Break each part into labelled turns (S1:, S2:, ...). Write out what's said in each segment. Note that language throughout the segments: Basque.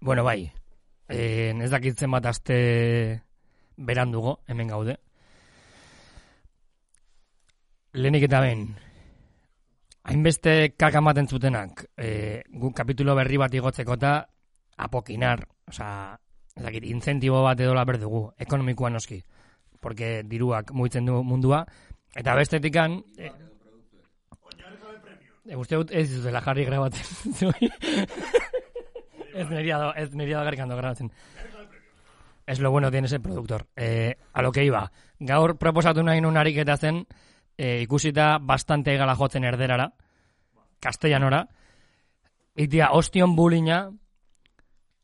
S1: Bueno, bai, e, ez dakitzen bat aste berandugo, hemen gaude. Lehenik eta ben, hainbeste kaka ematen zutenak, e, gu kapitulo berri bat igotzeko eta apokinar, osea, ez dakit, incentibo bat edola berdugu, ekonomikoa noski, porque diruak mugitzen du mundua, eta bestetikan... E, e, uste dut ez dutela jarri grabatzen. zuei. ez neria da, ez neria da garkando grabatzen. Es lo bueno tiene ese productor. Eh, a lo que iba. Gaur proposatu nahi nun ariketa zen, eh, ikusita bastante gala jotzen erderara, castellanora, itia ostion bulina,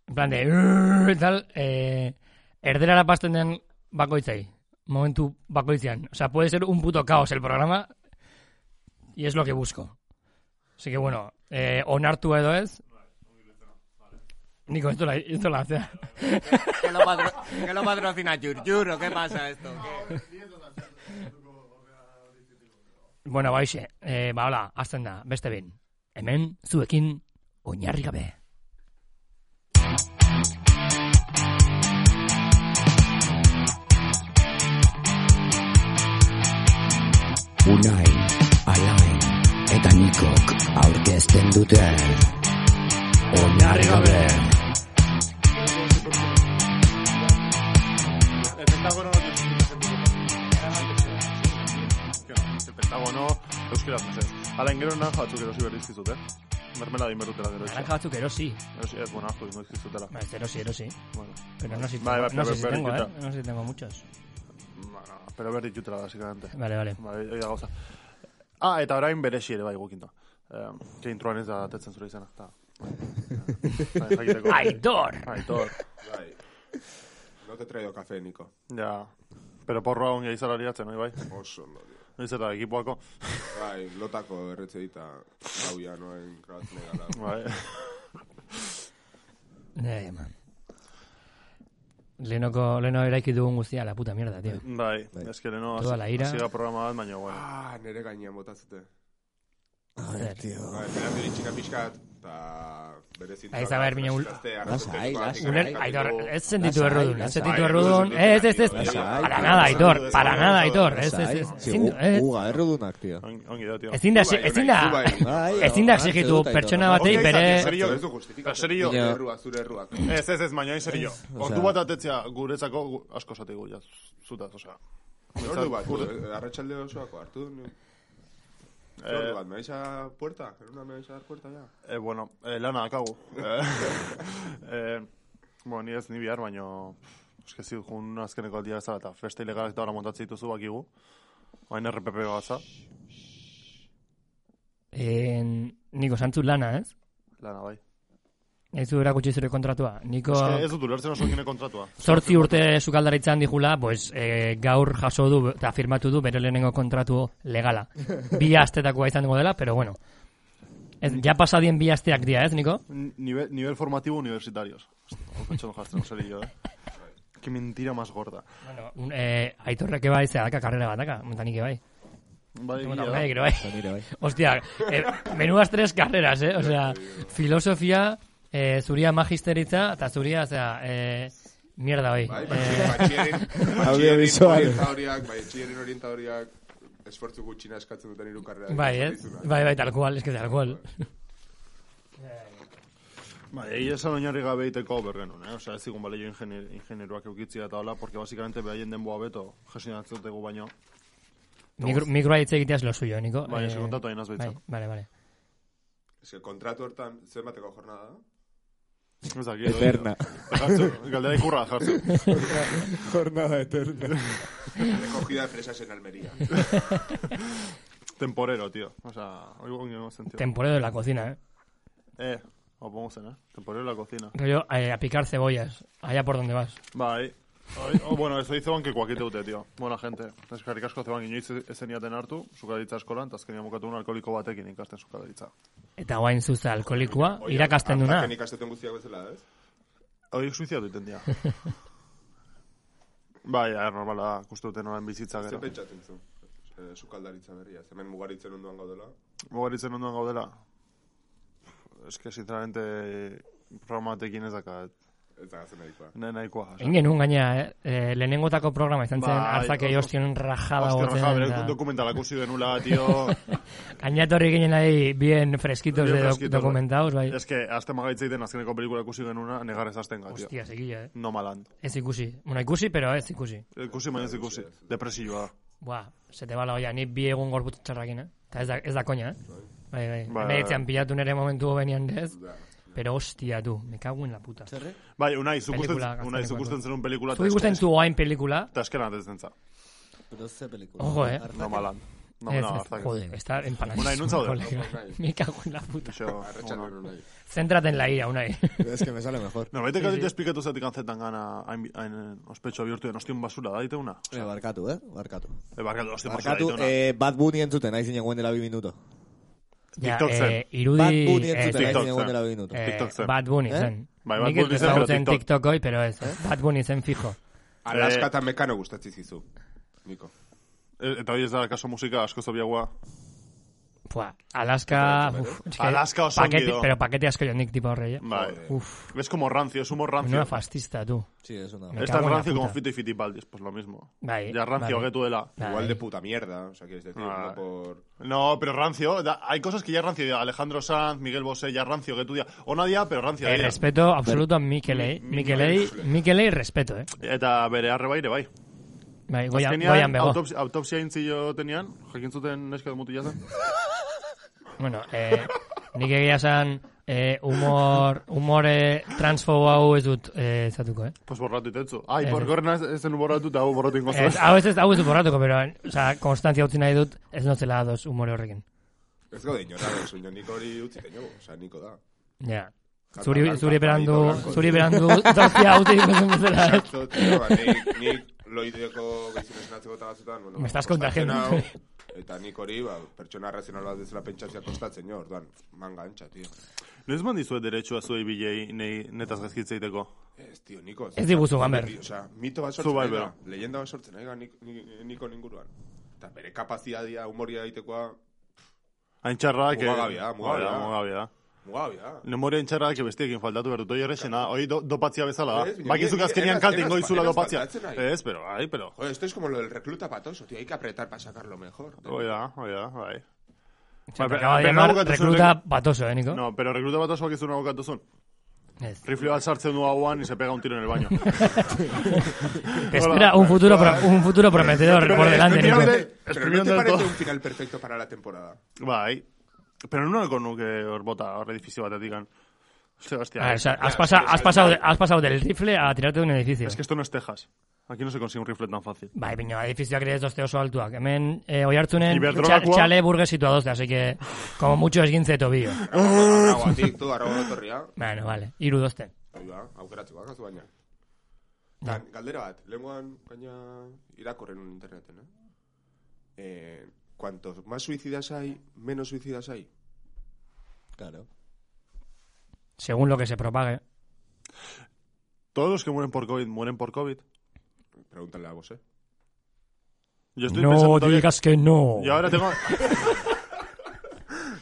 S1: en plan de, "Urr", y tal, eh, erderara pasten den bakoitzai, momentu bakoitzean. O sea, puede ser un puto caos el programa, y es lo que busco. Así que bueno, eh, onartu edo ez, Nico, esto la, esto la hace.
S2: ¿Qué lo, patro- qué lo patrocina Yur Yur o qué pasa esto? ¿Qué?
S1: Bueno, baixe, e, ba, hola, azten da, beste behin. Hemen, zuekin, oinarri gabe.
S3: Unai, Alain eta Nikok aurkezten dute Oinarri gabe
S4: El Pentágono no tiene Ez Pentagono, euskera meses. Hala ingero nanja batzuk erosi behar dizkizute. Mermelada inberutela gero. etxe.
S1: Naranja batzuk erosi.
S4: Erosi, ez, bueno, asko ingo dizkizutela.
S1: Ba, ez erosi, erosi.
S4: Bueno,
S1: Pero no sé si,
S4: Vale, vale,
S1: no
S4: pero
S1: sé si
S4: berri
S1: tengo, eh.
S4: quita.
S1: No sé si tengo muchos.
S4: bueno, pero behar ditutela, básicamente.
S1: Vale, vale.
S4: Bai, hori da gauza. Ah, eta orain beresi ere bai gukinto. Eh, ke introan ez da atetzen zure izena. Ta. Bai, jakiteko.
S1: Aitor!
S4: Aitor.
S5: Bai. No te he traído café, Nico.
S4: Ja. Pero porroa ongi izara liatzen, oi bai?
S5: Oso ondo. dio.
S4: Noiz eta ekipoako.
S5: Bai, lotako erretxe dita hau ja noen grabatzen egala.
S4: Bai.
S1: Eh, man. Lehenoko, leheno eraiki dugun guztia, la puta mierda, tío.
S4: Bai, ez que leno
S1: Toda la ira.
S4: hasi da programa bat, baina bueno.
S5: Ah, nere gainean botatzete.
S1: Joder.
S5: Bai, beran diri txika pixkat, eta bere zintua.
S1: Aiz, a ber, mine, ul- Uler, Aitor, ez sentitu
S3: Lasai,
S1: errudun, ez
S3: lasai.
S1: sentitu errudun, ez, ez, ez,
S6: Lasai.
S1: para nada, Aitor, para nada, Aitor, ez, ez,
S6: Lasai.
S1: ez,
S6: Sí,
S1: ezin, eh.
S6: gu-
S1: ez,
S6: Guga, errudunak, tío.
S4: On- Ongi da, tio.
S1: ezin da, ezin da,
S6: Bai,
S1: ezin da
S6: hartze
S1: exigitu
S6: dut, Aitor.
S1: pertsona batei
S4: Ongi izan,
S1: bere,
S4: serio.
S5: Ez du justifikatzen.
S4: Serio.
S5: Zure erruak, zure erruak.
S4: Ez, ez, ez, baina hain serio. Ordu bat atetzea guretzako gu- asko esate gu, ja, zutaz, osea.
S5: Ordu bat,
S4: Urde-
S5: eh, arratsalde osoako hartu. ni-
S4: Eh.
S5: Ordu bat, me vais a puerta? ¿En una me vais a dar puerta ya?
S4: Eh, bueno, eh, lana dakagu. Eh, eh, bueno, ni ez, ni bihar, baino... Eske zi, jun azkeneko aldia bezala, eta festa ilegalak eta hori montatzen dituzu bakigu. Oain RPP batza,
S1: en, Eh, niko santzu lana, ez?
S4: lana bai.
S1: Ez du erakutsi zure kontratua. Niko
S4: Eske ez dut ulertzen oso gine kontratua.
S1: zortzi urte sukaldaritzan dijula, pues, eh, gaur jaso du eta firmatu du bere lehenengo kontratu legala. Bi astetakoa izango dela, pero bueno. Ez, ja pasadien bi asteak dira, ez, Niko?
S4: N- Nivel, nivel formativo universitarios. Hau pentsan jartzen, serio, eh? Que mentira más gorda.
S1: Bueno, un- eh, aitorrek bai, ze daka karrera bat daka, mentanik bai.
S4: Bai,
S1: Bueno,
S4: egia da.
S1: bai, gero bai.
S6: Nire bai.
S1: Hostia, eh, menudas tres carreras, eh? O sea, filosofia, eh, zuria magisteritza, eta zuria, o sea, eh, mierda bai.
S5: Bai,
S1: Eh,
S5: batxierin,
S6: Audiovisual.
S5: orientadoriak, bai, batxierin orientadoriak esfortzu gutxina eskatzen duten hiru karrera.
S1: bai, ez? Bai, bai, tal cual, es que tal cual.
S4: Bai, egia esan oinarri gabe iteko bergenun, eh? Osea, ez zigun baleio ingenier, ingenieruak eukitzia eta hola, porque básicamente beraien denboa beto gestionatzen dutegu baino.
S1: Mikro, mikroa hitz egitea es lo suyo, Niko.
S4: Bai, ez kontatu hainaz
S1: bai,
S4: behitzen.
S1: vale, vale.
S5: Ez que kontratu hortan, zenbateko jornada da?
S4: Ez daki, edo-
S6: Eterna.
S4: Jartzu, galdera ikurra jartzu.
S6: Jornada eterna.
S5: Recogida de fresas en Almería.
S4: Temporero, tío. Osea, oigo ongi gozen, tío.
S1: Temporero de la cocina, eh.
S4: eh, opongo zen, eh? Temporero en la cocina.
S1: Rollo, eh, a picar cebollas, allá por donde vas.
S4: Bai. Oi, oh, bueno, ez oizu banke kuakite dute, tío. Buena gente. Eskarrik asko zeban inoiz ezen iaten hartu, sukaritza eskolan, eta azkenia mokatu un alkoholiko batekin ikasten sukaritza.
S1: Eta guain zuza alkolikoa,
S5: Oia,
S1: irakasten duna.
S5: Artaken ikastetun guztiak bezala, ez?
S4: Hoi, suiziatu iten dira. bai, aher, normala, da, kustu duten orain bizitza
S5: Zer
S4: gero.
S5: pentsatzen zu? Eh, Sukaldaritza berria, ez? hemen mugaritzen ondoan gaudela.
S4: Mugaritzen ondoan gaudela. Ez que, sinceramente, programa batekin ez dakat.
S5: Ez da gazen nahikoa.
S4: Ne nahikoa.
S1: Egin genuen gaina, eh, eh, lehenengotako programa izan zen,
S4: Bai,
S1: hartzake
S4: os-
S1: hostion rajada
S4: Oste,
S1: gotzen.
S4: raja, bere dokumentalak usi denula, tio.
S1: Gainatorri ginen ahí bien fresquitos
S4: Bien
S1: de doc-
S4: fresquitos,
S1: documentados, bai.
S4: Ez que, azte magaitzeiten azkeneko pelikula ikusi genuna, negarrez azten gatio.
S1: Hostia, seguilla, eh.
S4: No maland.
S1: Ez ikusi. Bueno, ikusi, pero ez ikusi.
S4: Ikusi baina ez ikusi. Depresioa.
S1: Buah, se te va la olla, ni bi egun gorputz txarrakin, eh. Ta ez da, ez da koña, eh. Bai, bai.
S4: Bai,
S1: Hene
S4: bai.
S1: etxean pilatu nere momentu benian ez. Pero hostia, du, me cago en la puta.
S4: Bai, unai, zukusten,
S1: Pelikula, gaztenekoak.
S4: unai, zukusten zenun pelikula.
S1: Zu ikusten zu hain pelikula?
S4: Eta eskeran atetzen za.
S7: Pero ze pelikula.
S1: Ojo, eh.
S4: No maland. No,
S1: Ez,
S4: no,
S1: ez,
S4: hartak.
S1: joder, está empanadísimo.
S4: Unai, non zaude?
S1: kolega. Me cago en la puta.
S4: Ixo,
S5: Arratxan
S4: bueno.
S5: hori nahi.
S1: Céntrate en la ira, Unai.
S6: Es que me sale mejor.
S4: Norbaitek aditu esplikatu zetik antzetan gana hain, hain ospetxo bihurtu den ostion basura da diteuna.
S7: Eh, barkatu, eh? Barkatu.
S4: E, barkatu, ostion basura
S7: Barkatu,
S4: diteuna.
S7: eh, Bad Bunny entzuten, haizin eguen dela bi minuto.
S1: Ja,
S4: TikTok zen.
S1: eh,
S7: Bad
S1: irudi...
S7: Bunny
S1: eh,
S7: entzuten,
S4: TikTok
S7: haizin eguen
S4: zen.
S7: dela bi minuto.
S1: eh,
S4: TikTok zen.
S1: Bad Bunny
S7: Eh?
S1: zen.
S4: Bai, Bad
S1: Nik ez
S4: Bunny zen,
S1: ezagutzen
S4: pero TikTok.
S1: TikTok hoy, pero ez. Bad Bunny zen fijo.
S4: Eh.
S5: Alaska eta mekano gustatzi zizu. Niko.
S4: E, Eta hori ez da kaso musika asko zobiagoa.
S1: Pua, Alaska... Uf, es que
S4: Alaska oso
S1: paquete,
S4: ongi do.
S1: Pero paquete asko joan nik tipo horre.
S4: Bai.
S1: Uf,
S4: Es como rancio, es humor rancio.
S1: menuda fascista, tú.
S7: Sí, es una...
S1: Me
S4: Es tan
S1: cago en la
S4: rancio como
S1: puta.
S4: Fito y Fitipaldis, pues lo mismo.
S1: Bai,
S4: Ya rancio
S1: vale.
S4: que tú de la...
S1: Nah,
S5: Igual de
S1: eh.
S5: puta mierda, o sea, quieres decir,
S4: Ah.
S5: no por...
S4: No, pero rancio, da- hay cosas que ya es rancio, Alejandro Sanz, Miguel Bosé, ya rancio que tú ya, o nadia, pero rancio.
S1: Eh,
S4: dira.
S1: respeto absoluto a eh. Mikelei. Mikelei, Mikelei respeto, eh.
S4: Eta bere arre baire, bai.
S1: Bai, goian, goian
S4: Azkenean,
S1: bego.
S4: autopsia, autopsia intzio tenean, jakin zuten neska de mutila zen.
S1: Bueno, eh, nik egia esan eh, humor, humore transfobo hau ez dut eh, zatuko, eh?
S4: Pues borratu itetzu. Ai,
S1: Ez.
S4: por gorna ez zen borratu eta hau borratu ingo
S1: Ez, Eh. hau ez ez, hau ez dut borratuko, pero, o sea, konstantzia utzi nahi dut, ez notzela ados humore horrekin.
S5: Ez gaude inora, baina niko hori utzi teño, o sea, niko da.
S1: Ja. Zuri,
S5: Kaka-
S1: zuri
S5: kaka-
S1: berandu,
S5: blanco.
S1: zuri berandu, zauztia utzi dut bezala. ez?
S5: Exacto, tío, ba, nik, nik loideko gaizun esnatzeko eta batzutan, bueno,
S1: Me estás
S5: kostatzen
S1: contagiando.
S5: hau, Eta nik hori, ba, pertsona razional bat bezala pentsatzea kostatzen, jo, orduan, manga antxa, tío.
S4: Noiz man dizue derechua zuei bilei nei netaz gazkitzeiteko?
S5: Ez, tío, niko.
S1: Ez diguzu, Gamber.
S5: O sea, mito bat
S4: Zu
S5: sortzen
S4: bai,
S5: ari da,
S4: bero.
S5: leyenda bat sortzen ari da nik, nik- niko ninguruan. Eta bere kapazitatea humoria egitekoa,
S4: Hain txarrak... eh,
S5: Mugagabea, mugagabea.
S4: Mugagabea, mugagabea.
S5: mugabia.
S4: Memoria hain txarrak bestiekin faltatu behar dut. Hoi errexena, hoi do, dopatzia bezala.
S5: Ez, baina
S4: Bakizuk
S5: ni-
S4: azkenean
S5: eraz-
S4: kalte
S5: eraz-
S4: ingo izula
S5: eraz
S4: dopatzia.
S5: faltatzen ari.
S4: Ez, pero, ai, pero...
S5: Joder, esto es como lo del recluta patoso, tío, hay que apretar para sacarlo mejor.
S4: Hoi da, hoi da, bai.
S1: Se me
S4: Ba,
S1: acaba de
S4: be-
S1: llamar
S4: bukatu zuen
S1: recluta
S4: rek-
S1: patoso, eh, Nico?
S4: No, pero rekluta bat osoak izuna bokatuzun.
S1: Ez.
S4: Rifle bat sartzen du hauan y se pega un tiro en el baño.
S1: Te espera un futuro, pro- un futuro prometedor por delante,
S4: Pero-
S1: Nico.
S4: Pero-
S5: Pero no
S4: Escribiendo
S5: te
S4: de
S5: parece
S4: todo.
S5: un final perfecto para la temporada.
S4: Bai. Pero no neko nuke hor bota, hor edifizio batetikan. Hostia, hostia.
S1: Ah, o sea, has, pasa, has, pasado, de- has pasado del rifle a tirarte de un edificio.
S4: Es que esto no es Texas. Aquí no se consigue un rifle tan fácil.
S1: Bai, baina edifizioak ere ez dozte oso altuak. Hemen, eh, oi hartzunen,
S4: Iberdrolakoa-
S1: txale burgesito adozte, así que, como mucho esguintze de tobillo.
S5: Arrago a ti, tú, arrago notorria.
S1: Bueno, vale, iru dozte.
S5: Hori da, aukeratzeko, akazu baina. Gan, galdera bat, lenguan, baina irakorren un interneten, eh? Eh, cuantos más suicidas hay, menos suicidas hay.
S7: Claro.
S1: Según lo que se propague.
S4: Todos los que mueren por COVID, mueren por COVID.
S5: Pregúntale a vos, eh?
S4: Yo estoy
S1: No
S4: pensando todavía-
S1: digas que no.
S4: Yo ahora tengo...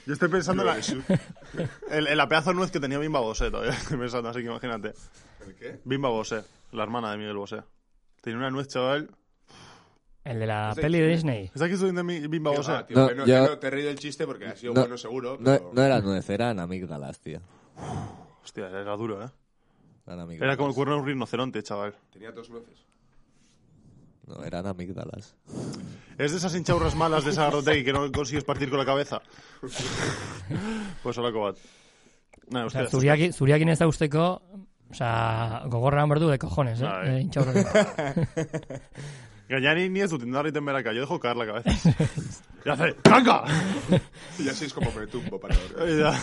S4: Yo estoy pensando en la, en- en la pedazo de nuez que tenía Bimba Bosé todavía. Estoy pensando, así que imagínate.
S5: ¿El qué?
S4: Bimba Bosé, la hermana de Miguel Bosé. Tenía una nuez, chaval.
S1: El de la
S5: Sí.
S1: peli de Disney.
S4: ¿Está aquí subiendo mi- Bimba
S5: Tío,
S4: Bosé?
S5: ah, tío,
S7: No,
S5: que no,
S7: ya-
S5: que no te he reído el chiste porque ha sido bueno seguro,
S7: no,
S5: pero...
S7: no eran nuez, eran amígdalas, tío.
S4: Hostia, era duro, ¿eh?
S7: Eran amígdalas.
S4: Era como el cuerno de un rinoceronte, chaval.
S5: Tenía dos nueces.
S7: No, eran amígdalas.
S4: Es de esas hinchaurras malas de esa Rotegui que no consigues partir con la cabeza. pues hola, Cobat. Nah,
S1: O sea,
S4: ustedes.
S1: zuriaki, zuriakin ez dauzteko, o sea, gogorra berdu de cojones, eh?
S4: Bai.
S1: eh intxaurra.
S4: Gañani ni es tu y Yo dejo caer la cabeza. y hace ¡Canca!
S5: Y así es como me tumbo para dormir.
S4: Oida,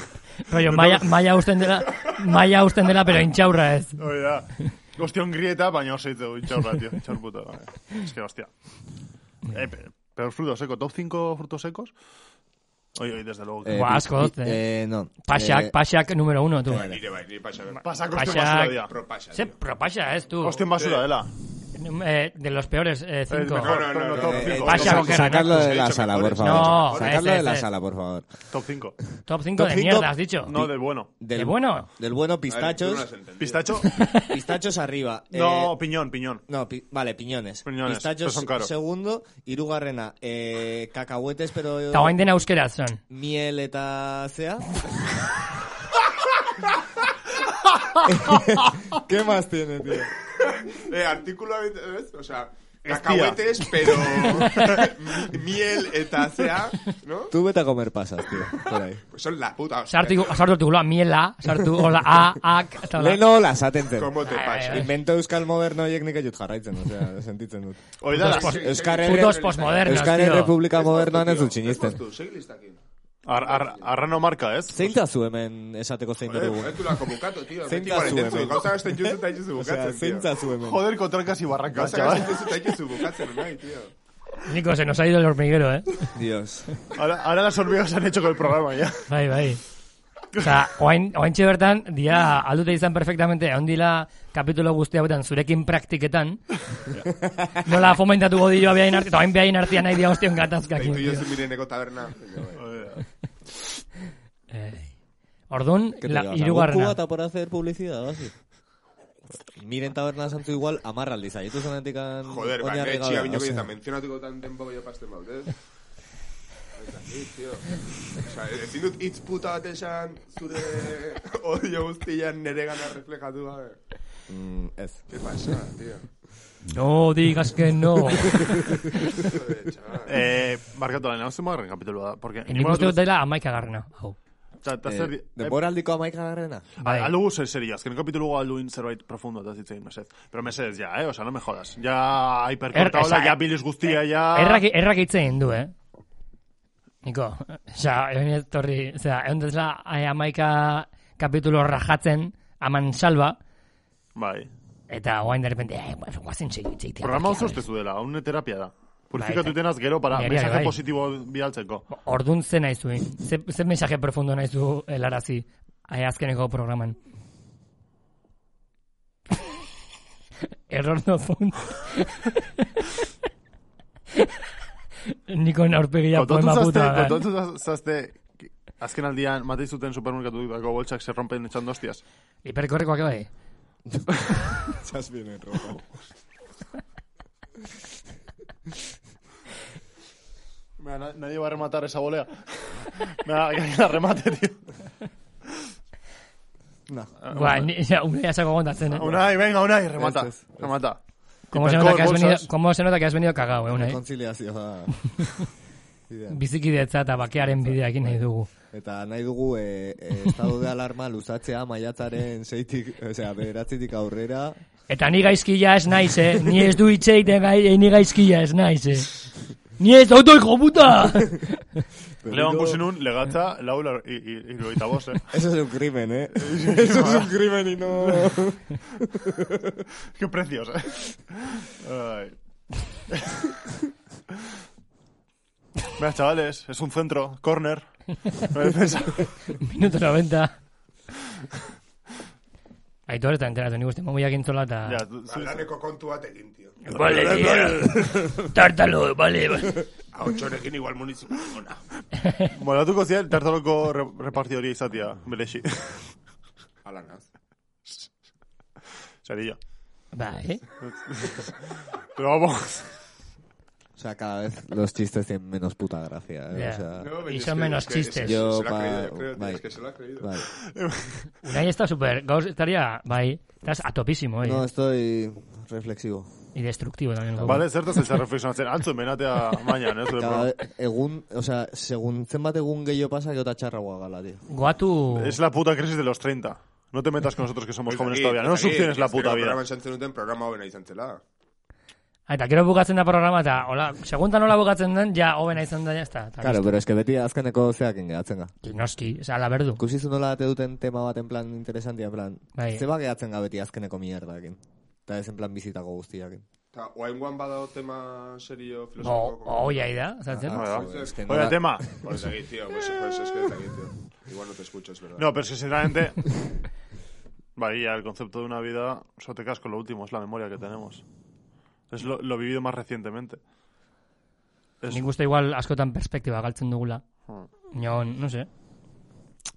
S1: Rollo, maia, maia usten dela, maia usten dela, pero intxaurra ez.
S4: oida. Hostia, un grieta, baño se hizo hinchaurra, tío. Hinchaur puta. vale. Es que, hostia. Eh, pe- pero frutos secos, top 5 frutos secos. Oye, oye, desde luego. que-
S1: Buah,
S7: pi-
S1: asko,
S7: pi-
S1: eh.
S7: eh, no.
S1: Paxak,
S7: Eh,
S1: paxak número uno, tú.
S5: Nire bai, nire pasa.
S4: Pasa con
S1: Paxak-
S4: basura, tía.
S5: Pro pasa,
S1: Se
S5: tío.
S1: propaxa, ez, tú.
S4: Hostia, basura, Ela.
S1: eh, de los peores eh,
S4: El
S1: cinco.
S4: mejor,
S5: No, no, no,
S4: pero
S5: no,
S4: top
S5: eh,
S4: cinco,
S1: vaya
S4: top
S1: con
S4: cinco,
S1: que-
S7: Sacadlo
S5: Renato,
S7: de
S5: he
S7: la
S5: dicho
S7: sala,
S5: mejores.
S7: por favor.
S1: No,
S7: Sacadlo
S1: ese,
S7: de la
S1: ese.
S7: sala, por favor.
S4: Top 5.
S1: Top 5
S7: Top
S1: de
S7: cinco-
S1: mierda, has dicho.
S4: No, de bueno.
S7: Del
S1: Qué bueno.
S7: Del bueno,
S5: A ver, tú no lo
S7: pistachos.
S5: has entendido.
S4: Pistacho.
S7: Eh, Pistachos arriba.
S4: No,
S7: Eh,
S4: piñón, piñón.
S7: No, pi- vale, piñones.
S4: Piñones, pero
S7: Pistachos
S4: son caros.
S7: segundo, hirugarrena, eh, cacahuetes, pero
S1: Eta guain dena euskeraz son.
S7: miel eta zea.
S6: ¿Qué más tiene, tío?
S5: Eh, artículo, ¿ves? O sea, cacahuetes, pero miel eta zea, ¿no?
S7: Tú vete a comer pasas, tío. Por ahí.
S5: Pues son la puta hostia.
S1: Sartu, sartu artikulua, miela, sartu, hola, a, ak, eta hola.
S7: Leno las atentzen.
S5: ¿Cómo te pasa?
S7: Invento euskal modernoiek nik aiut jarraitzen, osea, sentitzen dut.
S4: Hoi da,
S1: Putos pos-
S7: Euskal
S1: Putos
S7: Herri...
S1: posmodernos,
S7: Euskal
S1: tío.
S7: Herrepublika modernoan ez dut
S5: Estás
S7: sinisten.
S5: tú, seguí lista aquí.
S4: ar, ar, arrano marka, ez?
S7: Zein da zu hemen esateko zein
S5: Joder,
S7: dugu?
S5: joder, tú la convocado, tío.
S7: Zein
S5: Beti
S7: da
S5: guardetzen
S7: zuen,
S5: zu,
S7: hemen?
S5: Gauza gasten juzu eta juzu
S7: Osea,
S5: bukatzen,
S7: zein
S5: tío.
S7: da zu hemen?
S4: Joder, kontrakas y barrancas,
S5: Gauza
S4: chaval.
S5: gasten juzu eta juzu bukatzen, nahi, tío.
S1: Nico, se nos ha ido el hormiguero, eh.
S7: Dios.
S4: Ahora, ahora las hormigas han hecho con el programa ya.
S1: Bai, bai. Osa, oain, oain bertan, dia aldute izan perfectamente, ondila kapitulo guzti hauetan zurekin praktiketan, nola fomentatuko dio behain arti, eta oain behain artian nahi dia ostion gatazkakin.
S5: Deitu
S1: tío.
S5: jozu mireneko taberna. Venga, bai.
S1: Ordun,
S7: ¿Qué te
S1: la,
S7: llevas? ¿Algún
S1: irugarrena.
S7: cubata por hacer publicidad o así? Miren taberna santu igual amarraldi zaitu zenetikan
S5: Joder, ba,
S7: oinarri
S5: nire
S7: gabe,
S5: txia binoko
S7: osea.
S5: eta mentzionatuko tan denbo gehiago pasten baut, ez? Eta hitz, tío. Osa, ezin dut hitz puta bat esan, zure odio guztian nere gana reflejatu gabe.
S7: Mm, ez.
S5: Ke pasa, tío?
S1: No digas que no.
S5: Joder, chaval.
S4: Eh, markatu lan, hau zemarren kapitulu da. Porque,
S1: Nik uste dut dela amaika garrena. Hau.
S4: Ta, ta zer,
S7: Eh, Denboraldiko amaika garrena?
S1: Bai.
S4: Aldugu zer serio, azken kapitulu alduin zerbait profundo eta zitzein, mesez. Pero mesez, ja, eh? Osa, no me jodas. Ja, hiperkorta
S1: Er-
S4: hola,
S1: esa-
S4: ja, biliz guztia, ja...
S1: Errak, errak itzen du, eh? Niko, oza, egon ez torri, oza, egon dezla eh, amaika kapitulo rajatzen, aman salba,
S4: Bai.
S1: eta guain derrepente, eh, pues, guazen segi hitz egitea.
S4: Programa
S1: porque,
S4: oso
S1: a ver.
S4: ustezu dela, haune terapia da. Purifikatu tenaz gero para
S1: Niri,
S4: mensaje
S1: bai.
S4: positibo bidaltzeko.
S1: Ordun ze nahi zuen, ze, ze mensaje profundo nahi zu helarazi eh, azkeneko programan. Error no found. Nikon aurpegia
S4: Kontatu
S1: poema
S4: zazte,
S1: puta. eh. da.
S4: kontatu zaz- zazte, azken aldian, matei zuten supermerkatu dutako boltsak se rompen etxando hostias.
S1: Hiperkorrekoak bai.
S6: Estás
S4: eh,
S6: bien en ropa.
S4: Mira, na- nadie va a rematar esa volea. Mira, que la remate, tío.
S1: Guau, Ba, ni, ya, un día saco contatzen, eh.
S4: Unai, venga, Unai, remata.
S6: Este es- este.
S4: Remata.
S1: ¿Cómo se, nota que has
S4: Hipercor,
S1: venido,
S4: bolsas.
S1: ¿Cómo se nota que has venido cagado, eh, unai?
S7: Kontziliazioa. Bidean.
S1: Bizikidetza eta bakearen bideakin nahi dugu.
S7: Eta nahi dugu e, e, estado de alarma luzatzea maiatzaren seitik, osea, bederatzitik aurrera.
S1: Eta ni gaizkila ez naiz, eh? Ni ez du hitz egiten gai, eh, ni gaizkila ez naiz, eh? Ni ez auto hijo puta!
S4: Levan Cusinun, legatza, laula y, y, y lo hitabos, eh.
S7: Eso es un crimen, eh? Eso es un crimen y no...
S4: Qué precios, eh. Ay. Mira, chavales, es un centro, corner. No hay defensa.
S1: Minuto 90. Aitor eta enteratu, nik uste momiak intzola eta...
S4: Ya, tú- sí, sí.
S5: Laneko kontu bat egin, tío.
S1: Vale, tío. Tártalo, vale, vale.
S5: Ahotxorekin igual munizipal ona.
S4: Molatuko zian, tartaroko re, repartio hori izatia, berexi.
S5: Ala naz.
S4: Zarilla.
S1: Ba, eh?
S4: Pero vamos.
S7: O sea, cada vez los chistes tienen menos puta gracia, eh?
S1: Ya.
S7: O sea...
S5: No,
S1: Y
S5: es
S1: son
S5: que-
S1: menos
S5: es que- es
S1: chistes.
S5: que
S7: Yo
S5: se lo ha
S7: pa-
S5: creído, yo bai, creo, tío,
S7: vale.
S5: es que se lo ha creído.
S7: Vale.
S1: Unai está super, gaur estaría, bai, estás a topísimo, eh?
S7: No, estoy reflexivo.
S1: Y destructivo también. un poco.
S4: Vale, zertaz ez reflexionatzen. Antzu, menatea maian, ez?
S7: Cada vez, egun, o sea, segun zenbat egun gehiago pasa, gota txarra gala, tío.
S1: Goatu...
S4: Es la puta crisis de los 30. No te metas con nosotros que somos
S5: Pues
S4: jóvenes
S5: aquí,
S4: todavía. No nos
S5: pues aquí,
S4: subciones la
S5: azkeneko
S4: puta vida.
S5: Programan santzen duten programa hobena izan zela.
S1: Ah, Eta gero bukatzen da programa, eta hola, segundan hola bukatzen den, ja, hobena izan da, jazta.
S7: Claro, pero es que beti azkeneko zeakin gehatzen ga.
S1: Noski, oza, laberdu.
S7: Ikusi zu nola ate duten tema bat en plan interesantia, en plan,
S1: Bai.
S7: zeba gehatzen ga beti azkeneko mierdakin. Eta ez en plan bizitako guztiakin.
S5: Eta, oaingoan badao tema serio
S1: Bo,
S5: filosofiko.
S1: hoi da, zaten?
S7: Ah,
S4: Ah,
S7: joder, es que
S4: Oye,
S7: nola-
S4: tema.
S5: Pues aquí, tío, pues, pues es que es aquí, tío. Igual no te escucho, es verdad.
S4: No, pero es que sinceramente... Vaya, el concepto de una vida, eso te casco, lo último es la memoria que tenemos. Es lo, lo vivido más recientemente.
S7: ah.
S4: Es-
S1: Nik uste igual askotan perspektiba galtzen dugula.
S7: Hmm.
S1: Nion, no se. Al,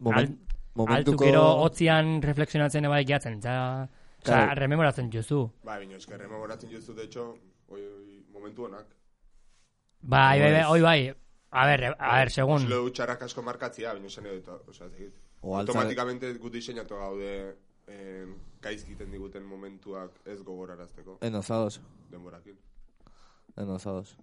S7: Momen,
S1: altu
S7: momentuko...
S1: gero hotzian reflexionatzen ebai gehatzen, eta... Osa,
S7: Claro.
S1: rememoratzen juzu.
S5: Ba, bino, eske rememoratzen justu, de hecho, oi, oi, momentu honak.
S1: Bai, bai, bai,
S7: Pues-
S1: oi bai. A ber, a ber, segun.
S5: Zulo txarrak asko markatzia, bino esan edo, oza, zekit.
S7: O altza-
S5: Automatikamente gut diseinatu gaude eh, gaizkiten diguten momentuak ez gogorarazteko,
S7: Enozados,
S5: denborakin.
S7: enozados.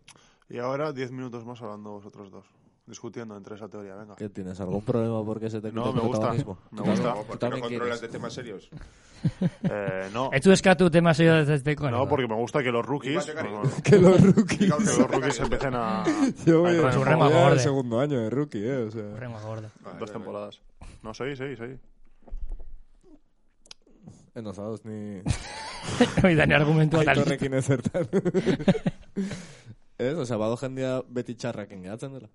S4: Y ahora 10 minutos más hablando vosotros dos. Discutiendo entre esa teoría, venga.
S1: Eh,
S7: ¿Qué tienes? ¿Algún problema porque se te quita
S4: No,
S7: el
S4: me gusta.
S7: protagonismo?
S4: Me gusta.
S5: No, porque no
S7: también
S5: controlas
S7: quieres.
S5: de temas serios.
S4: Eh, no,
S1: Ez du eskatu tema serio ez ezteko.
S4: no, porque me gusta que los rookies.
S5: Igual te
S4: no,
S5: cariño.
S4: no,
S7: Que los rookies.
S4: que los rookies empiecen a.
S6: Yo voy
S4: a
S6: a
S1: su
S4: transformar
S1: rema
S6: voy a
S1: gorda.
S6: segundo año de rookie, eh, o sea.
S1: Horrengo gorda.
S4: dos temporadas. No, soy, soy, soy.
S6: Enozados ni...
S1: Hoi da, ni argumentua tal.
S6: Aitorrekin ezertan.
S7: Ez, osea, bado jendea beti txarrakin gehatzen dela.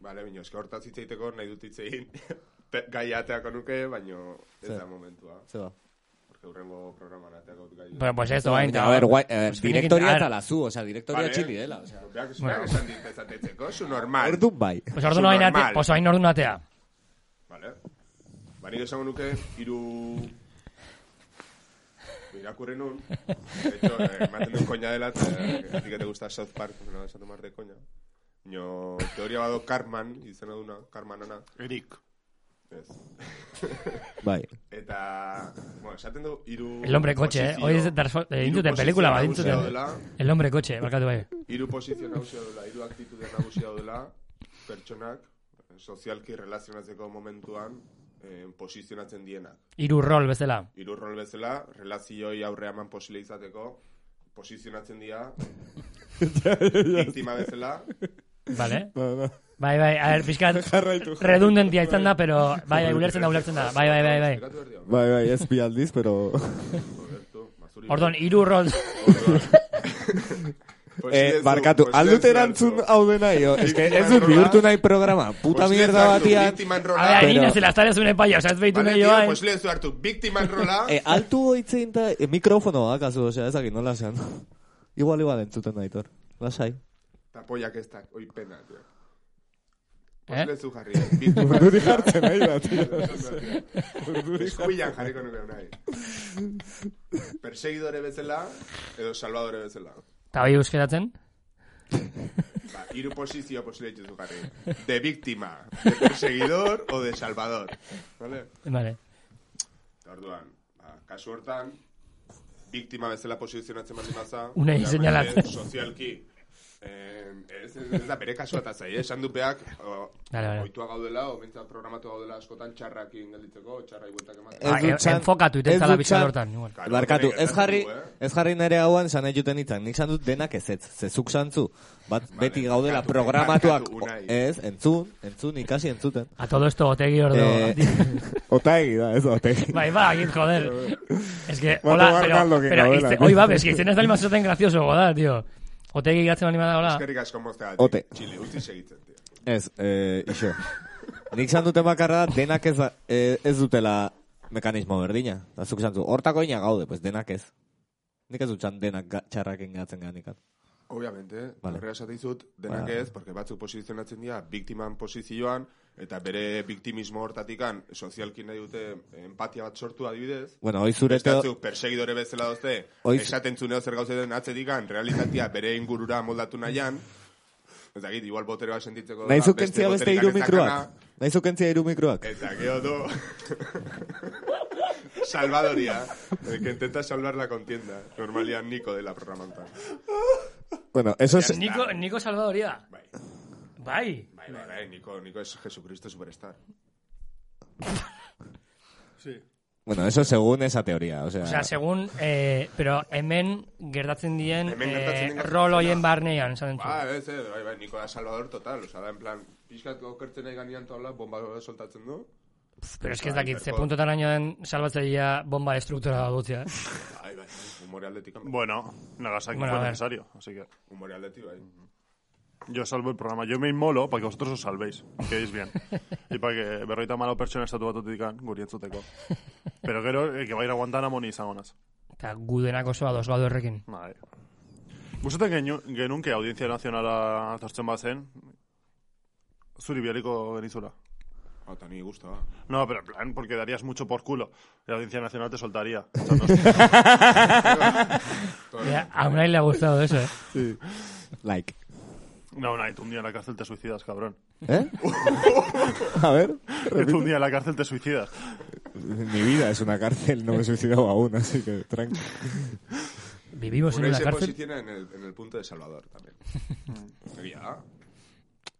S5: Bale, bino, eske hortaz hitz egiteko nahi dut hitz egin. Pe- gai ateako nuke, baino ez
S7: Zer?
S5: da momentua.
S7: Zeba.
S5: Porque hurrengo programan ateako dut gai.
S1: Bueno, pues esto, hain.
S7: a ver, guai, a ver,
S1: Pues finekin-
S7: direktoria
S1: a ver,
S7: eta lazu, osea, direktoria
S5: Vale.
S7: txili dela, osea.
S5: Beak zuenak
S1: Bueno.
S5: esan dit ezatetzeko, zu normal.
S7: Orduan bai.
S1: Pues ordu no hain atea.
S5: normal.
S1: Pues hain ordu atea.
S5: Vale. Ba, nire esango nuke, iru... Irakurri nun. De hecho, eh, maten duen koña dela, eta eh, a ti que te gusta South Park, pues no vas a tomar de coña. Nio, teoria bado Carman, izena duna, Carmanana.
S4: Eric.
S5: Ez.
S7: Bai.
S5: Eta, bueno, esaten du, iru...
S1: El hombre coche, eh.
S5: posizio-
S1: Hoy es Darsfo- eh,
S5: hiru
S1: intuten
S5: posizio
S1: pelikula bat,
S5: nagusia
S1: intuten.
S5: daudela,
S1: El hombre coche, barkatu bai.
S5: Hiru posizio nagusia dela, hiru aktitude nagusia dela, pertsonak, eh, sozialki relazionatzeko momentuan, eh, posizionatzen dienak.
S1: Hiru rol bezala.
S5: Hiru rol bezala, relazioi aurre eman posile izateko, posizionatzen dira, biktima bezala,
S1: Vale?
S6: No, no.
S1: Bai, bai, a ver, pixkat
S6: Jarraitu.
S1: redundentia izan da, pero bai, bai, ulertzen da, ulertzen da. Bai, bai, bai, bai.
S5: Esplikatu behar dio,
S6: Bai, bai, ez bi aldiz, pero...
S5: Roberto, mazuri.
S1: Ordon, hiru rol.
S5: Posile
S7: Eh,
S5: zu,
S7: barkatu,
S5: posile
S7: aldut
S5: zu,
S7: erantzun
S5: Aldo.
S7: hau dena, jo. Ez que ez dut
S5: Biktiman
S7: bihurtu
S5: rola.
S7: nahi programa. Puta
S5: Posile zu
S7: mierda
S5: hartu,
S7: batian.
S5: Biktiman
S1: A
S5: rola.
S1: ver,
S7: Pero-
S1: harina, se la estarez un empaio, o sea, ez behitu
S5: Vale,
S1: nahi
S5: tío, pues
S1: joan.
S5: posile zu hartu, biktiman rola.
S7: Eh, altu hitzein da, eh, mikrofono akazu, osea, ezakit nola esan. Igual, igual entzuten nahitor. Lasai.
S5: Tapoiak ez da, oi pena, tío. Pues
S1: Eh?
S5: Posile zu jarri, biktiman
S6: Urduri jartzen nahi da, tío.
S5: Urduri Eskuilan jarriko nuke nahi. Persegidore bezala, edo salvadore bezala.
S1: Eta bai euskeratzen?
S5: Ba, hiru posizio posible dituzu jarri. De víctima, de perseguidor o de salvador. Vale?
S1: Vale.
S5: Eta orduan, ba, kasu hortan, biktima bezala posizionatzen baldin baza...
S1: Unai
S5: obviamente,
S1: seinalatzen.
S5: Sozialki. Eh, ez, ez da bere kasua eta zai, eh? esan dupeak o,
S1: Vale, vale.
S5: oitua gaudela, o bintzat programatu gaudela askotan txarrakin gelditzeko, txarra igueltak ematen.
S7: Ez
S1: Ba,
S7: dut
S1: en-
S7: txan-
S1: Enfokatu,
S7: ez
S1: itentzala
S7: dut
S1: bizar
S7: txan-
S1: hortan. igual.
S5: Claro,
S7: Barkatu,
S5: hori
S7: ez
S5: gertatu
S7: jarri,
S5: dugu, eh?
S7: ez jarri nere hauan san egiten hitzak. Nik san dut denak ez ez, zezuk zantzu. Bat beti gaudela
S5: barkatu,
S7: programatuak.
S5: barkatu, Unai.
S7: Ez, entzun, entzun, ikasi entzuten.
S1: A todo esto, otegi ordo.
S7: Eh,
S6: Otaegi da, ez da, otaegi.
S1: Bai, ba, egin, joder. Es que,
S6: Bueno,
S1: hola,
S6: va
S1: pero,
S6: Arnaldo que
S1: pero,
S6: gabela.
S1: izte, hoy va, es que izten ez bali mazoten gracioso, goda, tío. Otegi gatzen bali da, hola.
S5: Eskerrik asko moztea.
S7: Ote.
S5: Txile, utzi segitzen, tio.
S7: Ez, eh, iso. Nik san duten bakarra da, denak ez, da- eh, ez dutela mekanismo berdina. Da zuk zantzu, hortako ina gaude, pues denak ez. Nik ez dut txan denak ga- txarrakin gatzen ganikan.
S5: Obviamente,
S7: Vale.
S5: vale. horrega esate dizut, denak
S7: Vale.
S5: ez, porque batzuk posizionatzen dira, biktiman posizioan, eta bere biktimismo hortatikan, sozialkin nahi dute empatia bat sortu adibidez,
S7: Bueno, hoi zure teo...
S5: Bestatzuk perseguidore bezala dozte,
S7: Oiz-
S5: esaten zuneo zer gauze den atzedikan, realitatea bere ingurura moldatu nahian, ez dakit, igual botere bat sentitzeko...
S7: Nahizu
S5: da,
S7: kentzia beste
S5: boterekan
S7: hiru
S5: ez dakana,
S7: mikroak. Nahizu kentzia hiru mikroak.
S5: Eta gero du... Salvadoria, el que intenta salvar la contienda. Normalian Nico de la programantan.
S7: Bueno, eso es...
S1: Nico, Nico Salvadoria.
S5: Bai,
S1: Bai.
S5: bai, bai, bai, Nico, Nico es Jesucristo superstar.
S7: Bueno, eso según esa teoría, o sea...
S1: O sea, segun, eh, pero hemen gertatzen dien
S5: Hemen gertatzen
S1: eh,
S5: den gauza
S1: rol hoien
S5: zena.
S1: barnean, esaten zu.
S5: Ba, ez, ez, bai, bai, Nico da Salvador total, osea, da, en plan, pixkat okertzen nahi ganean tola, bomba soltatzen du,
S1: Pero es que ez
S5: bai,
S1: dakit, ze
S5: perfecto.
S1: puntotan araño den salbatzaia bomba estruktura da dutzea. eh?
S5: bai, bai, humore aldetik, hombre.
S4: Bueno, Nagasaki
S1: Bueno, a
S4: fue
S1: ver.
S4: necesario, así que.
S5: humore aldetik, bai.
S4: Yo salvo el programa. Yo me inmolo para que vosotros os salvéis. Quedéis bien. y para que berroita malo pertsona estatu bat utikan, guri entzuteco. Pero gero, eh, que va a ir a Guantánamo ni zagonaz.
S1: Eta gudenak oso ados gaudu errekin.
S4: Madre. Gustatzen genu, genunke audientzia nazionala tortzen bazen, zuri bialiko genizula.
S5: Eta ni guztua.
S4: No, pero en plan, porque darías mucho por culo. La Audiencia Nacional te soltaría. O sea, no-
S1: Ya, a Unai le ha gustado eso, ¿eh?
S7: Like.
S4: no, no, y tú un día en la cárcel te suicidas, cabrón.
S7: ¿Eh? A ver.
S4: Que tú un día en la cárcel te suicidas.
S6: Mi vida es una cárcel, no me he suicidado aún, así que tranqui.
S7: Pues
S1: Vivimos en
S5: Unai
S1: una
S5: se
S1: cárcel.
S5: posiciona en el, en el punto de Salvador también. Egia.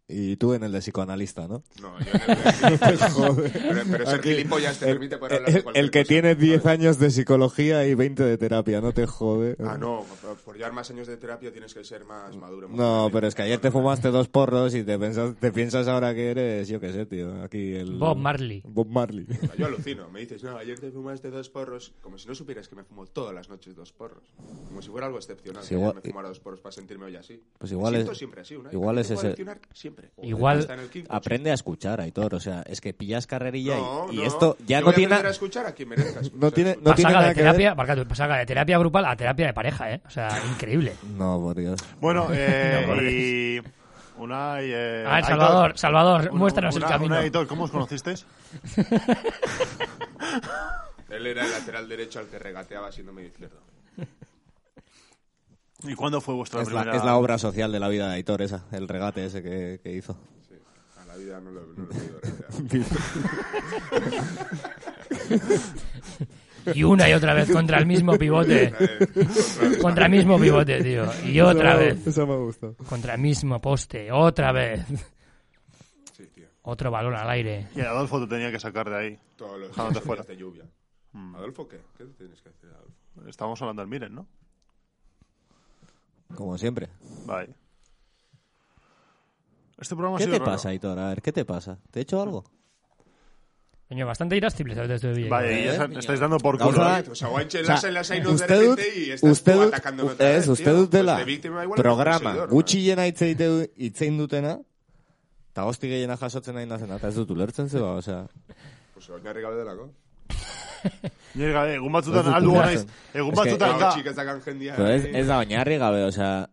S7: Y tú en el de psicoanalista, ¿no?
S5: No, yo en el de- pero, pero ser
S6: Aquí,
S5: gilipollas te
S7: eh,
S5: permite poder
S6: El,
S5: hablar de
S6: el-
S5: cualquier
S6: el que
S5: cosa,
S6: tiene 10
S5: ¿sabes?
S6: años de psicología y 20 de terapia, no te jode.
S5: Ah, no, por- por llevar más años de terapia tienes que ser más maduro. más
S7: No,
S5: grande.
S7: pero es que ayer te fumaste dos porros y te piensas, te piensas ahora que eres, yo qué sé, tío. Aquí el.
S1: Bob Marley.
S6: Bob Marley.
S5: Yo alucino, me dices, no, ayer te fumaste dos porros, como si no supieras que me fumo todas las noches dos porros. Como si fuera algo excepcional,
S7: Sí,
S5: que
S7: igual-
S5: yo me fumara dos porros para sentirme hoy así.
S7: Pues igual
S5: me
S7: es-
S5: siento siempre así, Unai.
S7: igual
S5: Me
S7: es
S5: puedo
S7: ese-
S5: alucinar siempre.
S1: Igual-
S5: Hasta en el quinto.
S7: Aprende a escuchar, Aitor. O sea, es que pillas carrerilla y-
S5: No,
S7: y,
S5: no,
S7: esto ya
S5: yo
S7: no
S5: voy a
S7: tiene.
S5: aprender a escuchar a quien merezca escuchar.
S7: No tiene- no
S5: escuchar.
S7: tiene
S1: Pasaga
S7: nada
S1: de
S7: que ver.
S1: terapia, barca tú, pasaga de terapia grupal a terapia de pareja, ¿eh? O sea, increíble.
S7: No, por Dios.
S4: Bueno, eh,
S1: No, porque-
S4: y... Unai, eh,
S1: A ver,
S4: Aitor.
S1: Salvador, Salvador,
S4: Una-
S1: muéstranos
S4: una-
S1: el camino.
S4: Unai, Aitor, ¿cómo os conocisteis?
S5: Él era el lateral derecho al que regateaba siendo medio izquierdo.
S4: ¿Y cuándo fue vuestra
S7: Es la,
S4: primera...?
S7: es la obra social de la vida de Aitor, esa. El regate ese que, que hizo.
S5: Sí, a la vida no lo, no lo he podido regatear.
S1: Y una y otra vez contra el mismo pivote. Contra el mismo pivote, tío. Y otra
S6: Eso me-
S1: vez.
S6: Eso me ha gustado.
S1: Contra el mismo poste. Otra vez.
S5: Sí, tío.
S1: Otro balón al aire.
S4: Y Adolfo te tenía que sacar de ahí.
S5: Todos los
S4: Dejándote
S5: días
S4: fuera.
S5: de lluvia.
S7: Mm.
S5: ¿Adolfo qué? ¿Qué tienes que hacer, Adolfo?
S4: Estábamos hablando del Miren, ¿no?
S7: Como siempre.
S4: Vale. Este programa ha
S7: ¿Qué
S4: sido
S7: te
S4: raro.
S7: pasa, Aitor? A ver, ¿qué te pasa? ¿Te he hecho algo?
S1: Coño, bastante irascible sobre todo esto de
S4: Vale,
S1: Villa.
S4: y ya
S7: Eh,
S4: sa-
S7: niño.
S4: estáis dando por
S7: Vamos
S4: culo.
S7: a-
S4: ¿eh?
S5: O sea, guanche,
S7: O
S5: las
S7: sea,
S5: las hay no de
S7: usted dut-
S5: repente y estás
S7: usted
S5: tú
S7: dut-
S5: atacándome otra
S7: ez,
S5: vez,
S7: usted
S5: tío.
S7: dut
S5: Pues
S7: dela
S5: de víctima igual
S7: programa
S5: que de poseidor,
S7: gutxiena itzeite- itzein dutena eta hosti gehiena jasotzen nahi nazena eta ez dut ulertzen zeba, osea
S5: ¿no? Pues oinarri gabe delako.
S4: Nire gabe, egun batzutan
S7: Ez dut
S4: aldu
S7: ulertzen.
S4: naiz. Egun
S7: Ez que-
S4: batzutan da.
S5: Hau txik ez dakan jendia.
S7: Pero ez, ez da oinarri gabe, osea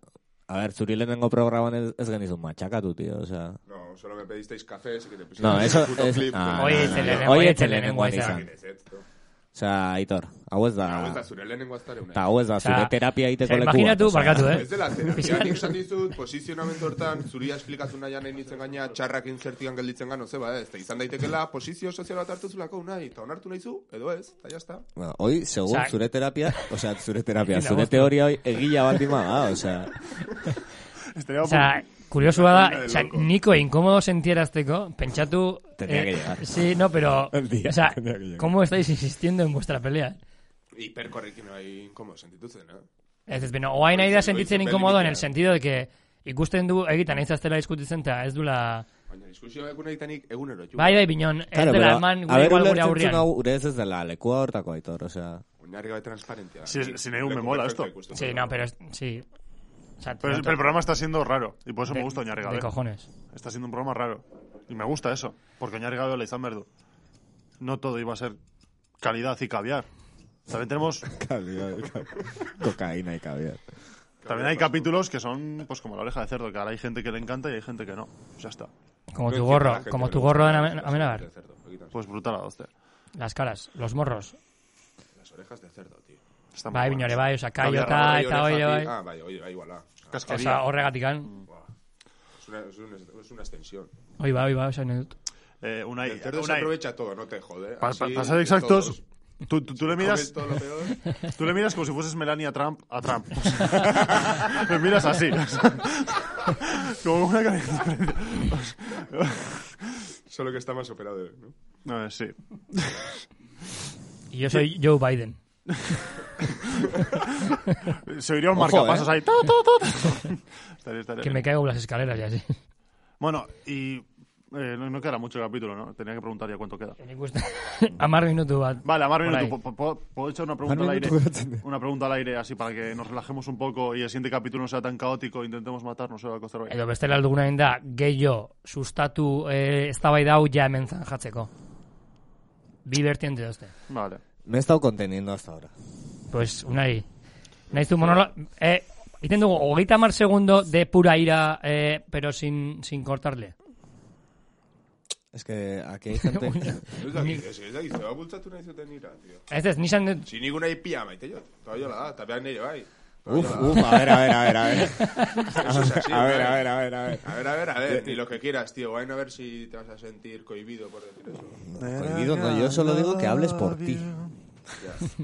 S7: a ber, zuri lehenengo programan ez, ez genizun matxakatu, tío, osea
S5: No, solo me pedisteis café, así que te pusiste
S7: No,
S5: el
S7: eso
S5: puto
S7: es...
S5: clip.
S7: Ah,
S1: Oye,
S7: no, no,
S1: etxe
S7: no.
S1: lehenengoa,
S7: Oie
S1: etxe
S7: etxe lehenengoan
S1: lehenengoa
S7: izan.
S5: Ez, ez, to.
S7: Osea, Aitor, hau ez da...
S5: Hau ez da zure lehenengo aztare
S7: Eta
S5: una.
S7: hau ez da, zure
S1: Osea,
S7: terapia egiteko
S1: osea,
S7: leku
S1: imaginatu, barkatu, eh?
S5: Ez dela, terapia nik esan dizut, posizionamendu hortan, zuria esplikatu nahian nahi nintzen gaina, txarrak intzertian gelditzen gano, zeba, ez, Eta izan daitekela, posizio sozial bat hartu zulako nahi, eta onartu nahi zu, edo ez, eta jazta.
S7: Bueno, hoi, segun,
S1: Osea,
S7: zure terapia, osea, zure terapia,
S1: Ezin da
S7: zure
S1: moztu.
S7: teoria hoi egila bat ima da, osea...
S4: Estaría
S1: Osea, kuriosua da, osea, niko inkomodo sentierazteko, pentsatu...
S7: Tenía que llegar.
S1: eh, Sí, no, pero...
S6: El día
S1: o sea,
S6: tenía que llegar.
S1: ¿cómo estáis insistiendo en vuestra pelea?
S5: Hiperkorrekin hain komo sentitutzen, eh?
S1: Ez ez, beno, oain nahi da
S5: Goizu,
S1: sentitzen
S5: goizu,
S1: inkomodo en
S5: berdin
S1: el
S5: dira.
S1: sentido de que ikusten du egitan ez aztela diskutitzen eta ez dula...
S5: Baina, diskusio egun egiten ik, egunero, jo.
S1: Bai, bai, binon, ez
S7: Claro,
S1: dela
S7: pero,
S1: eman
S7: a
S1: gure
S7: ber,
S1: igual gure
S7: ulertzen zuen
S1: aurrian.
S7: hau, gure ez ez dela lekua hortako Aitor, osea...
S5: Oinarri gabe transparentia.
S4: Si- si nahi un me mola esto.
S1: Sí, no, pero es- sí. O sea,
S4: Pero,
S1: no te-
S4: pero el programa está siendo raro, y por eso me gusta Oñarri
S1: De
S4: Gabe.
S1: cojones.
S4: Está siendo un programa raro. Y me gusta eso, porque Oñarri Gabe la izan berdu. No todo iba a ser calidad y caviar. También tenemos,
S6: Calidad, cal-
S7: Cocaína y caviar.
S4: también hay capítulos que son pues como la oreja de cerdo, que ahora hay gente que le encanta y hay gente que no. Pues ya está.
S1: Como tu gorro, como tu gorro en Amen- Amenabar.
S4: Pues brutal a 12.
S1: Las caras, los morros.
S5: Las orejas de cerdo, tío.
S4: Está muy
S1: Bai,
S4: bueno.
S1: binore, bai, oza, kaiota
S5: Caviar,
S1: eta
S5: oreja,
S1: oire,
S5: tío.
S1: bai.
S5: Ah, bai, oye, bai, iguala.
S4: Casquería.
S1: Osa, horregatikan.
S5: Es una, es una, es una extensión.
S1: Oi, bai, oi, bai, osa, nahi dut.
S4: Eh, Unai,
S5: El cerdo se
S4: Unai,
S5: aprovecha todo, no te jode.
S4: pa- pa-
S5: Así,
S4: para ser
S5: de
S4: exactos,
S5: todos.
S4: tú, tú- tú le
S5: Comes
S4: miras,
S5: todo lo peor.
S4: tú le miras como si fueses Melania Trump a Trump. le miras así. como una cabeza.
S5: Solo que está más operado, ¿no?
S4: No, eh, sí.
S1: Y yo soy Joe Biden.
S4: Se oiría un
S7: Ojo,
S4: marcapasos
S7: eh.
S4: ahí. Ta, ta, ta. Estaría- estaría
S1: Que
S4: bien.
S1: me caigo por las escaleras y así.
S4: Bueno, y eh, no, no queda mucho capítulo, ¿no? Tenía que preguntar ya cuánto queda.
S1: Nik uste. Amar minutu bat.
S4: Vale, a Marvin,
S1: Por ahí.
S4: ¿tú po- po- ¿puedo echar una pregunta al
S6: Marvin,
S4: aire?
S6: tú atiende.
S4: Una pregunta al aire, así para que nos relajemos un poco y el siguiente capítulo no sea tan caótico. Intentemos matarnos, se va a costar hoy.
S1: Edo bestela alduguna da gehiago sustatu eh, eztabaida hau ja hemen zanjatzeko. Bi bertiente dozte.
S4: Vale.
S7: Me he estado conteniendo hasta ahora.
S1: Pues, unai. Naiz du monola... Eh, Egiten dugu, hogeita mar segundo de pura ira, eh, pero sin, sin cortarle.
S7: Es que aquí hay gente...
S5: Ez dakit, ez, ez dakit, zeba bultzatu nahi zuten nira, tio.
S1: Ez ez, nizan dut...
S5: Si nik unai pia maite jo, toa jola da, eta behar nire bai.
S7: uf, uf, a ver, a ver, a ver, a ver.
S5: Eso es así,
S7: A ver,
S5: ¿no?
S7: a ver, a ver, a ver.
S5: A ver, Eh, a ver, a ver, ni lo que quieras, tío. Vayan a ver si te vas a sentir cohibido por decir eso.
S7: Prohibido, no, yo solo digo que hables por ti.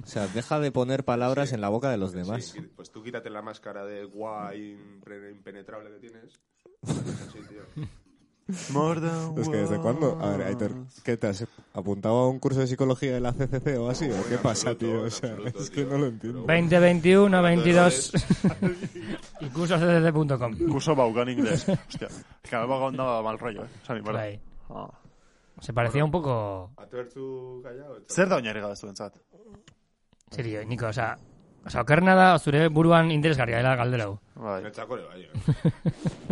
S7: O sea, deja de poner palabras en la boca de los demás.
S5: Sí, pues tú quítate la máscara de guay impre- impenetrable que tienes. Sí, tío.
S4: More than
S6: Es que desde cuándo? A ver, Aitor, ¿qué te has apuntado a un curso de psicología de la CCC o así? ¿O qué
S5: en
S6: pasa,
S5: absoluto,
S6: tío?
S5: en
S6: O sea,
S5: absoluto,
S6: es que
S5: tío.
S6: no lo entiendo.
S1: 20, 21, 22... Ikusocdd.com
S4: Curso Baucan inglés. Hostia, es que me Baucan daba mal rollo, eh. Esan ipar.
S1: Bai.
S4: Ah.
S1: Se parecía un poco...
S5: Atertu gaiao. eta-
S4: Zer da oinarri gabe zuen zat?
S1: Serio, Niko, osea... Osa, okerrena da, zure buruan interesgarria dela galdera hau.
S4: Bai.
S5: Netzako ere bai. eh.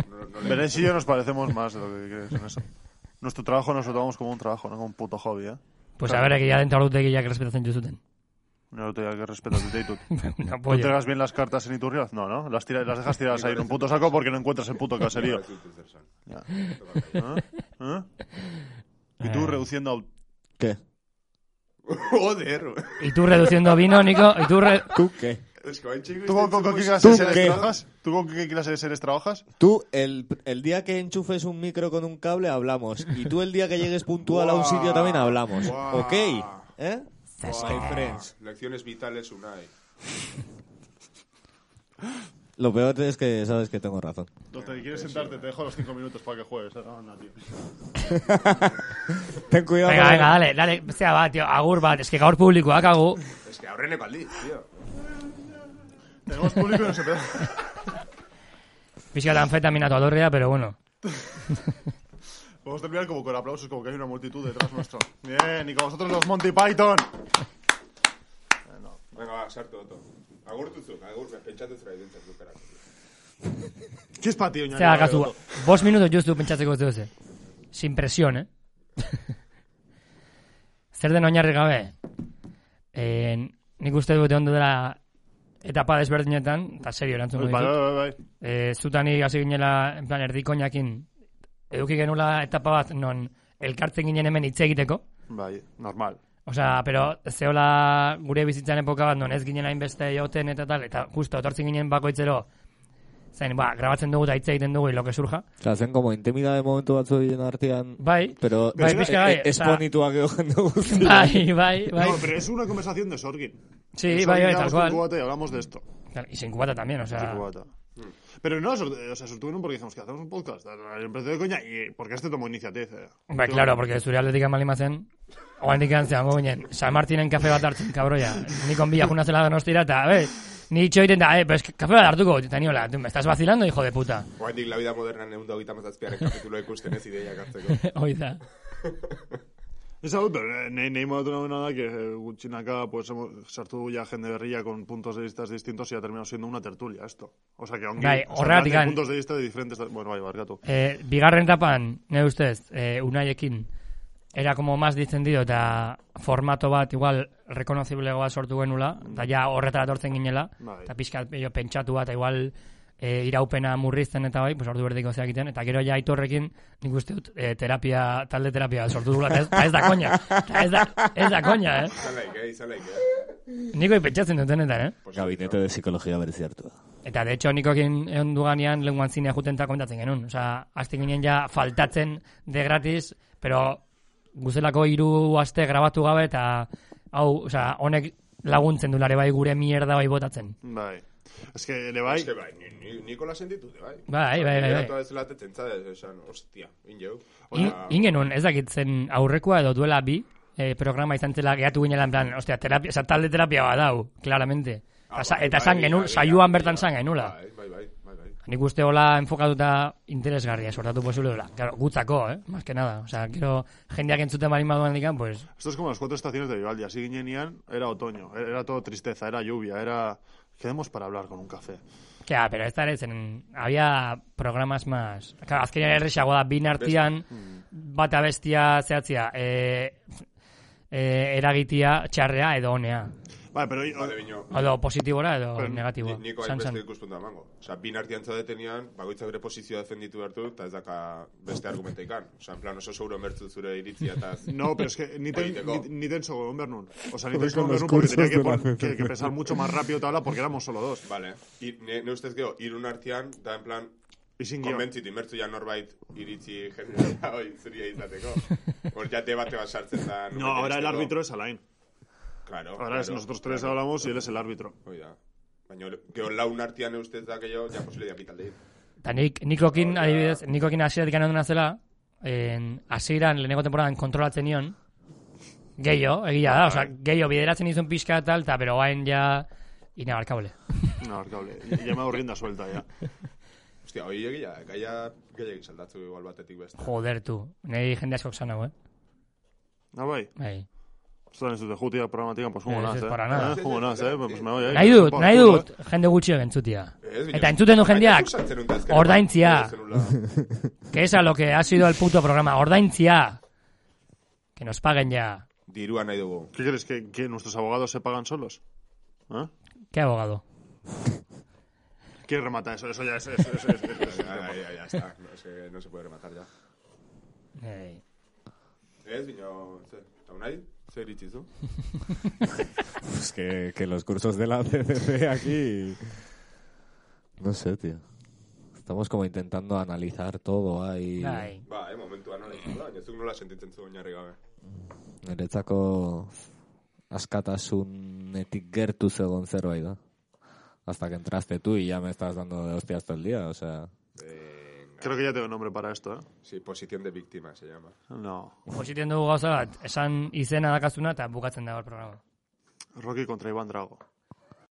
S5: No, no le-
S4: Berez y yo nos parecemos más de lo que crees en eso. Nuestro trabajo nos lo tomamos como un trabajo, no como un puto hobby, eh.
S1: Pues a ver, egia den taurutegiak respetatzen juzuten.
S4: No te que respetar el ditut.
S1: Una
S4: ¿Tú
S1: polla.
S4: entregas bien las cartas en Iturriaz? No, ¿no? Las, tira- las dejas tiradas ahí en un puto saco porque no encuentras el puto caserío. Ya. ¿Eh? ¿Eh? Y tú reduciendo al...
S7: ¿Qué?
S5: Joder.
S1: Y tú reduciendo vino, Nico, y tú... re-
S7: ¿Tú qué?
S5: Es que va en chingo y
S4: ¿Tú con, con- con qué clase
S7: Pues, ¿Tú
S4: de seres
S7: qué?
S4: trabajas? ¿Tú con qué clase de seres trabajas?
S7: Tú, el, el día que enchufes un micro con un cable, hablamos. Y tú, el día que llegues puntual a un sitio, también hablamos.
S5: Guau.
S7: ¿Ok? ¿Eh? Sky Friends.
S5: Lecciones vitales Unai.
S7: Lo peor es que sabes que tengo razón.
S4: Donde quieres sentarte, te dejo los cinco minutos para que juegues. ¿eh? tío.
S7: Ten cuidado.
S1: Venga,
S7: con-
S1: venga, dale, dale, zea bat, tío, agur bat, eske gaur publikoak agu.
S5: Es que aurreneko aldi, tío.
S4: Tenemos público y no se pega. Bai.
S1: Pixka eta anfetaminatu adorrea, pero bueno.
S4: Podemos terminar como con aplausos, como que hay una multitud detrás nuestro. Bien, y con vosotros los Monty Python.
S5: Venga, va, ba, sartu oto. Agurtuzuk, agur, pentsatu zera identzatu karako.
S4: ¿Qué es para ti, Oña?
S1: Zea, kasu, bost minutu justu pentsatzeko ez duze. Sin presión, eh? Zer den oinarri gabe? Eh, nik uste dut ondo dela etapa desberdinetan, eta serio erantzun
S4: Bai, bai, bai, bai.
S1: e, zutani hasi ginela, en plan, erdikoinakin, eduki genula etapa bat, non, elkartzen ginen hemen hitz egiteko.
S4: Bai, normal.
S1: Osea, pero zeola gure bizitzan epoka bat, non ez ginen hainbeste joten eta tal, eta justo, etortzen ginen bakoitzero, zain, ba, grabatzen dugu eta hitz egiten dugu, y lo que surja.
S7: O sea, hacen como intimidad de momento batzu bien artean.
S1: Bai,
S7: Pero
S1: bai, pixka bai,
S7: es
S1: osea-
S7: bonituak edo jende guztia.
S1: Bai, bai, bai.
S4: No, pero es una conversación de Sorgin.
S1: Sí, bai, bai, tal cual. Ah.
S4: Y hablamos de esto.
S1: Tal, Y sin cubata también, o sea,
S4: Cubata.
S1: Mm.
S4: Pero no, sor- o sea, sortuvieron porque dijimos que hacemos un podcast. Empezó de coña y porque este tomó iniciativa.
S1: bai, claro, porque zure aldetik amalima zen, oan dikantzean, bo ginen, San Martinen kafe bat hartzen, kabroia. Nikon bila juna zela donostira, eta, a ver, ni itxo egiten da, eh, pues, kafe bat hartuko, eta niola, "Tú, me estás vacilando, hijo de puta.
S5: Oaindik la vida moderna neun da hogeita mazazpiaren kapituloa ikusten ez ideiak hartzeko.
S1: Hoi da.
S4: Ez hau, pero nahi nahi modatu nagoena da, que eh, gutxinaka, pues, hemos- sartu ya jende berria con puntos de vistas distintos y ha terminado siendo una tertulia esto. O sea, que aunque...
S1: Bai,
S4: o sea,
S1: horregatik
S4: hay
S1: gan-
S4: puntos de vista de diferentes... Bueno, bai, barkatu.
S1: Eh, bigarren tapan, ne ustez, eh, unaiekin, era como más distendido eta formato bat igual reconocible bat sortu genula, eta ja horretara tortzen ginela,
S4: Bai.
S1: eta pixka jo, pentsatu bat, igual eh, iraupena murrizten eta bai, pues ordu berdiko zeak egiten, eta gero ja aitorrekin nik uste dut eh, terapia, talde terapia bat sortu dugula, eta ez, eta ez da koña, eta ez da, ez da koña, eh?
S5: Izan laik, eh, izan laik, eh.
S1: Niko pentsatzen dut honetan, eh?
S7: Gabinete de psicología berziartu.
S1: Eta de hecho nikokin egon duganean lenguan zinea juten eta komentatzen genuen. Osa, azte ginen ja faltatzen de gratis, pero guzelako hiru aste grabatu gabe eta hau, osea, honek laguntzen dulare bai gure mierda bai botatzen.
S4: Bai. Es que le bai...
S5: Eske bai, ni, ni, nikola sentitute, bai.
S1: Bai, bai, bai, bai.
S5: Geratu ez latetzen zade, esan, hostia, in jau.
S1: In, ingenun, ez dakitzen aurrekoa edo duela bi, eh, programa izan zela gehatu ginela en plan, ostia, terapia, osa, talde terapia bat dau, claramente. Eta sa- eta zan genuen, saioan bertan zan genula.
S5: Bai, bai, bai, bai, bai.
S1: Nik uste hola enfokatuta interesgarria sortatu posible dela. Claro, gutzako, eh? Más que nada. O sea, quiero jendeak entzuten bari maduan dikan, pues...
S4: Esto es como las cuatro estaciones de Vivaldi. Así guiñenían, era otoño, era todo tristeza, era lluvia, era... Quedemos para hablar con un café.
S1: Que, ah, pero esta ere zen... Había programas más... Claro, azkenean errexago da, bin artian,
S5: mm.
S1: bata bestia zehatzia, eh, eh, eragitia, txarrea edo honea.
S4: Bai, pero...
S5: Bale, bino.
S1: Odo positibora edo
S4: Pero
S1: negatiboa.
S5: Ni- Niko hain
S1: San, san.
S5: beste ikuspuntua emango. Osa, bin artian zaudetenian, bakoitzak bere posizioa defenditu behar du, eta ez daka beste argumenta ikan. Osa, en plan oso seguro mertzu zure iritzia, eta... ez-
S4: No, pero es que ni ten,
S5: Político.
S4: ni, ni tenso con Bernun. O sea, ni
S6: Joder,
S4: tenso
S6: con
S4: con
S6: los
S4: Bernun porque
S6: cursos
S4: tenía que,
S6: de la
S4: pon-
S6: CCC.
S4: que- que pensar mucho más rápido tabla porque éramos solo dos.
S5: Vale, I, ne, ne ustez geho, irun artian, da en plan,
S4: Y sin guión.
S5: konbentzitu, mertzu ja norbait iritzi jendea hori zuria izateko. Hor ja debate bat sartzen da...
S4: No, ahora el árbitro es Alain.
S5: Claro,
S4: Ahora es
S5: claro,
S4: nosotros tres
S5: claro.
S4: hablamos y él es el árbitro.
S5: Hoi da. Baina, geho laun artian ustez da gehiago, ja posible diapitalde.
S1: Eta nik, nikokin,
S5: Hola.
S1: adibidez, nikokin asiatik anaduna zela, en, asieran lehenengo temporadan kontrolatzen nion, gehiago, egia da, oza,
S5: Bai.
S1: gehiago bideratzen izun pixka eta tal, eta pero hain ja inabarkable.
S4: No, cable. Ya me hago rienda suelta ya.
S5: Hostia, hoi egia, da, gaia gehiagin saldatzu igual batetik beste.
S1: Joder, tu, nahi jende askok zan hau, eh?
S4: Ah, bai.
S1: Bai.
S4: Están en su tejutia programática, pues
S1: Eh,
S4: como
S1: eso
S4: nada,
S1: es
S4: eh.
S1: para nada.
S4: Eh, Como nada, eh. Pues me voy ahí.
S1: Nahi dut,
S4: Pa-
S1: nahi
S4: culo,
S1: dut, jende gutxi entzutia.
S5: Bai, Ez, baina-
S1: Eta entzuten du jendeak,
S5: Baina, zuk sartzen Bai, dut azkenean.
S1: ordaintzea.
S5: Ez zenula.
S1: que es a lo que ha sido el puto programa, ordaintzia, que nos paguen ya.
S5: Dirua nahi dugu.
S4: ¿Qué crees? ¿Que, que nuestros abogados se pagan solos? ¿Eh?
S1: Qué abogado.
S4: ¿Quién remata eso? Eso ya es. Eso, eso, eso, eso, eso.
S5: Ah, ya, ya está. No se, no se puede rematar ya.
S1: Ei.
S5: Ez, bino, zer, eta unai, zer iritzizu?
S6: Pues que, que los cursos de la CCC aquí... No sé, tío. Estamos como intentando analizar todo ahí.
S1: Bai.
S5: Ba, eh, momentua nola izan da, baina zuk nola sentitzen zu oinarri gabe.
S6: Niretzako askatasunetik gertu zegoen zerbait da. Hasta que entraste tú y ya me estás dando de hostias todo el día, o sea...
S4: Creo que ya tengo nombre para esto, eh.
S5: Sí, posición de víctima, se llama.
S4: No.
S1: Positen dugu gauza bat, esan izena dakazuna eta bukatzen da hor programa.
S4: Rocky contra Iván Drago.